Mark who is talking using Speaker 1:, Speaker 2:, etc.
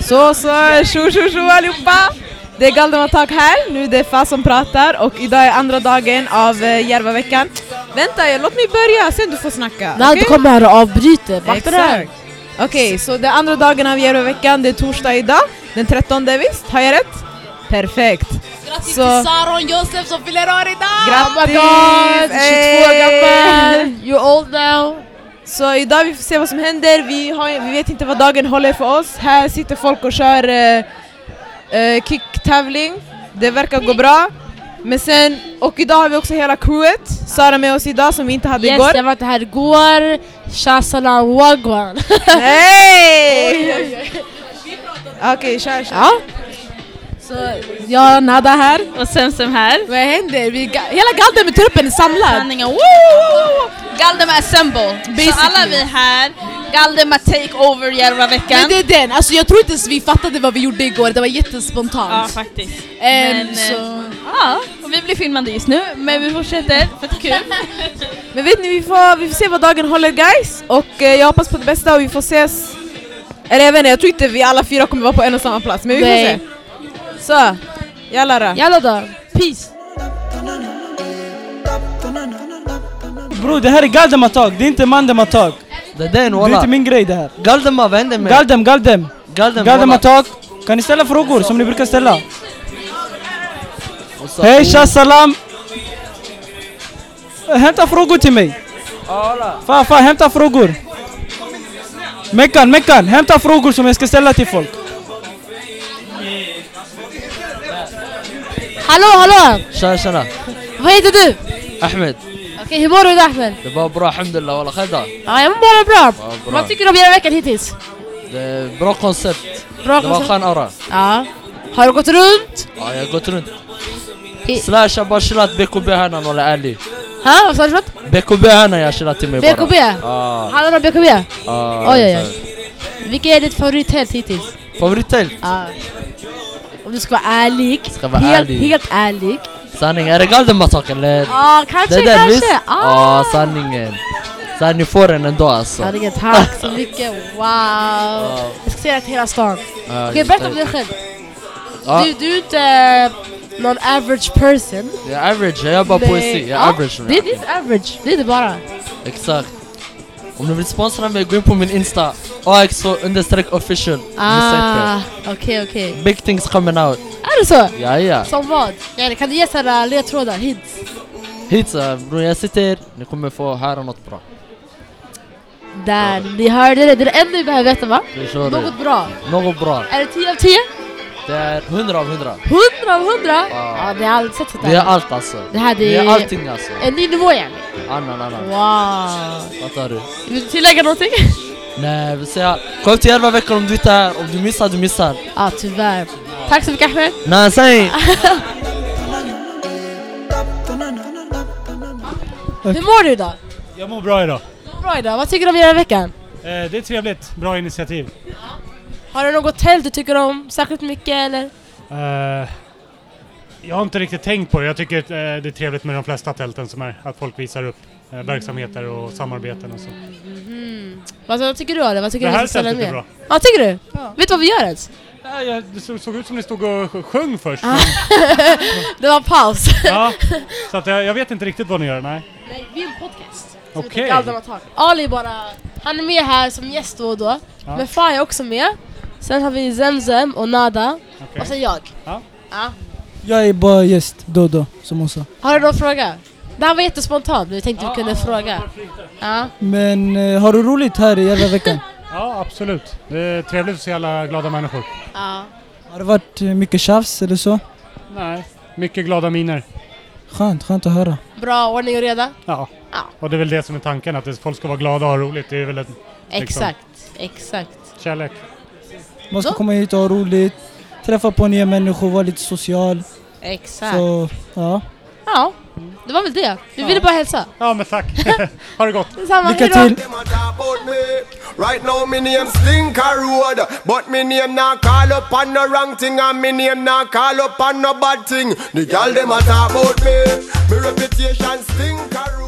Speaker 1: Så så, tjo tjo tjo allihopa! Det är Galdematak här, nu är det Fa som pratar och idag är andra dagen av eh, Järvaveckan. Vänta, jag- låt mig börja sen du får snacka.
Speaker 2: Nej,
Speaker 1: okej?
Speaker 2: du kommer här och avbryter. Vakta det här.
Speaker 1: Exakt. Okej, så det är andra dagen av Järvaveckan, det är torsdag idag, den 13 visst? Har jag rätt? Perfekt!
Speaker 2: Grattis
Speaker 1: Så- till
Speaker 2: Saron Josef som fyller år idag!
Speaker 1: Grattis!
Speaker 2: Oh my god! 22
Speaker 1: Hey!
Speaker 2: gammal! You're old now!
Speaker 1: Så idag vi får se vad som händer, vi, har, vi vet inte vad dagen håller för oss. Här sitter folk och kör eh, eh, kicktävling, det verkar gå bra. Men sen, och idag har vi också hela crewet, Sara med oss idag som vi inte hade
Speaker 2: Yes,
Speaker 1: igår.
Speaker 2: jag var inte här igår. Shasalam wagwan!
Speaker 1: Nej! Okej, kör kör.
Speaker 2: ja. Så jag och Nada här.
Speaker 3: Och Semsem här.
Speaker 2: Vad händer? Vi, ga- hela galden med truppen är samlad.
Speaker 3: Sanningen, woo! Galdemar Assemble. Så
Speaker 2: Basically.
Speaker 3: alla vi här, Galdemar Take Over
Speaker 2: Men
Speaker 3: Järvaveckan.
Speaker 2: det är den, alltså jag tror inte ens vi fattade vad vi gjorde igår, det var
Speaker 3: Ja,
Speaker 2: jättespontant.
Speaker 3: faktiskt.
Speaker 2: Ehm,
Speaker 3: men, eh,
Speaker 2: så...
Speaker 3: Ja, och vi blir filmade just nu, men vi fortsätter för att det är kul.
Speaker 1: Men vet ni, vi får, vi får se vad dagen håller guys. Och eh, jag hoppas på det bästa och vi får ses. Eller jag vet inte, jag tror inte vi alla fyra kommer vara på en och samma plats, men vi får
Speaker 2: Nej.
Speaker 1: se. Så, jalla då.
Speaker 2: Jalla då, peace!
Speaker 4: Bror det här är Galdematak, det är inte Mandematak.
Speaker 5: Det är den
Speaker 4: Det är inte
Speaker 5: walla.
Speaker 4: min grej det här.
Speaker 5: Galdemar, vad händer med
Speaker 4: Galdem, Galdem.
Speaker 5: Galdem?
Speaker 4: Galdematak. Kan ni ställa frågor som ni brukar ställa?
Speaker 5: walla.
Speaker 4: Hej, tja, salam. Eh, Hämta frågor till mig. Fan, fan, hämta frågor. Meckan, Meckan, hämta frågor som jag ska ställa till folk.
Speaker 2: Hallå hallå!
Speaker 5: Tjena tjena.
Speaker 2: Vad heter du?
Speaker 5: Ahmed.
Speaker 2: Okej hur mår du idag Ahmed?
Speaker 5: Det var bra alhamdulillah walla. Själv då?
Speaker 2: Ja jag mår bra.
Speaker 5: Ja, bra.
Speaker 2: Vad tycker du om hela veckan hittills?
Speaker 5: Det är bra koncept.
Speaker 2: Bra
Speaker 5: Det var
Speaker 2: koncept.
Speaker 5: skön aura.
Speaker 2: Ja. Har du gått runt?
Speaker 5: Ja, jag har gått runt.
Speaker 2: I-
Speaker 5: Slash jag bara chillat BKB härnan walla ärlig.
Speaker 2: Ha? Vad sa du för något?
Speaker 5: BKB härnan jag har chillat till mig bara. Ah.
Speaker 2: BKB?
Speaker 5: Ja.
Speaker 2: Handlar det om BKB?
Speaker 5: ja,
Speaker 2: Oj, oj,
Speaker 5: exakt.
Speaker 2: Vilket är ditt favorittält hittills?
Speaker 5: Favorittält?
Speaker 2: Ja. Om du ska vara ärlig.
Speaker 5: Ska vara
Speaker 2: helt,
Speaker 5: ärlig.
Speaker 2: Helt ärlig.
Speaker 5: Sanning, är det Galdematak eller?
Speaker 2: Ja, kanske, kanske.
Speaker 5: Ja,
Speaker 2: Ah.
Speaker 5: sanningen. Så ni får den ändå alltså.
Speaker 2: Sanningen, tack så mycket. Wow.
Speaker 5: Ah.
Speaker 2: Jag ska säga det till hela stan.
Speaker 5: Ja,
Speaker 2: Okej, berätta om dig själv.
Speaker 5: Ja.
Speaker 2: Du, du är inte eh, någon average person.
Speaker 5: Jag är average, jag gör bara poesi. Jag är average.
Speaker 2: Det, det är average. Det är det bara.
Speaker 5: Exakt. Om ni vill sponsra mig, gå in på min Insta. AXO understreck official.
Speaker 2: Ah, okej, okej.
Speaker 5: Big things coming out.
Speaker 2: Är det så?
Speaker 5: Ja, ja.
Speaker 2: Som vad? Ja, kan du ge sådana ledtrådar, hints?
Speaker 5: Hit eh, bror, jag sitter. Ni kommer få höra något bra.
Speaker 2: Där, ni hörde det. Det är det enda vi behöver veta va?
Speaker 5: Förstår du?
Speaker 2: Något bra.
Speaker 5: Något bra.
Speaker 2: Är det 10 av 10?
Speaker 5: Det är 100 av 100.
Speaker 2: 100 av 100?
Speaker 5: Ja.
Speaker 2: Ja, det har jag aldrig sett sådär.
Speaker 5: Det är allt alltså.
Speaker 2: Det här, det
Speaker 5: Det är
Speaker 2: är-
Speaker 5: allting alltså.
Speaker 2: En ny nivå igen.
Speaker 5: Annan, annan.
Speaker 2: Wow.
Speaker 5: Fattar du?
Speaker 2: Vill du tillägga någonting?
Speaker 5: Nej, jag vill säga. Kom till Järva veckan om du inte är här. Om du missar, du missar.
Speaker 2: Ja, tyvärr. Tack så mycket Ahmed.
Speaker 5: Nej, säg!
Speaker 2: Hur mår du idag?
Speaker 6: Jag mår bra idag.
Speaker 2: Bra idag. Vad tycker du om hela veckan?
Speaker 6: Eh, det är trevligt. Bra initiativ.
Speaker 2: Har du något tält du tycker om särskilt mycket eller?
Speaker 6: Eh, jag har inte riktigt tänkt på det. Jag tycker eh, det är trevligt med de flesta tälten som är. Att folk visar upp eh, verksamheter och samarbeten och så.
Speaker 2: Vad, vad tycker du om det? Vad tycker
Speaker 6: Det
Speaker 2: du
Speaker 6: här
Speaker 2: vi ska ställa
Speaker 6: tältet är
Speaker 2: med?
Speaker 6: bra.
Speaker 2: Ja, tycker du? Vet du vad vi gör ens?
Speaker 6: Nej, jag, det såg, såg ut som ni stod och sj- sjöng först.
Speaker 2: Ah. Det var paus.
Speaker 6: ja, så att eh, jag, jag vet inte riktigt vad ni gör. Nej.
Speaker 2: Nej, vi är en podcast. som heter
Speaker 6: Okej.
Speaker 2: Galdan och Tak. Ali är bara, han är med här som gäst då och då.
Speaker 6: Ja.
Speaker 2: Men Fai är också med. Sen har vi Zemzem och Nada.
Speaker 6: Okej.
Speaker 2: Och sen jag.
Speaker 6: Ja.
Speaker 7: Jag är bara gäst då och då, som hon sa.
Speaker 2: Har du någon fråga? Det här var jättespontant, men vi tänkte vi kunde fråga. Ja.
Speaker 7: Men eh, har du roligt här i hela veckan?
Speaker 6: Ja, absolut. Det är trevligt att se alla glada människor.
Speaker 2: ja.
Speaker 7: Har det varit eh, mycket tjafs eller så?
Speaker 6: Nej, mycket glada miner.
Speaker 7: Skönt, skönt att höra.
Speaker 2: Bra ordning och reda.
Speaker 6: Ja.
Speaker 2: Ja.
Speaker 6: Och det är väl det som är tanken, att det- folk ska vara glada och ha roligt. Det är väl en liksom,
Speaker 2: Exakt, exakt.
Speaker 6: kärlek.
Speaker 7: Man ska
Speaker 2: Då-
Speaker 7: komma hit och ha roligt, träffa på nya människor, vara lite social.
Speaker 2: Exakt.
Speaker 7: Så, ja.
Speaker 2: Ja, det var väl det. Vi ville bara hälsa.
Speaker 6: Ja, men tack. ha det gott.
Speaker 2: Detsamma,
Speaker 7: Lycka
Speaker 2: hejdå.
Speaker 7: till!
Speaker 8: Them a talk about me. Right now me name Slinker Road But me name not call up on no wrong thing And me name not call up on no bad thing The gal them a talk about me Me reputation Slinker Road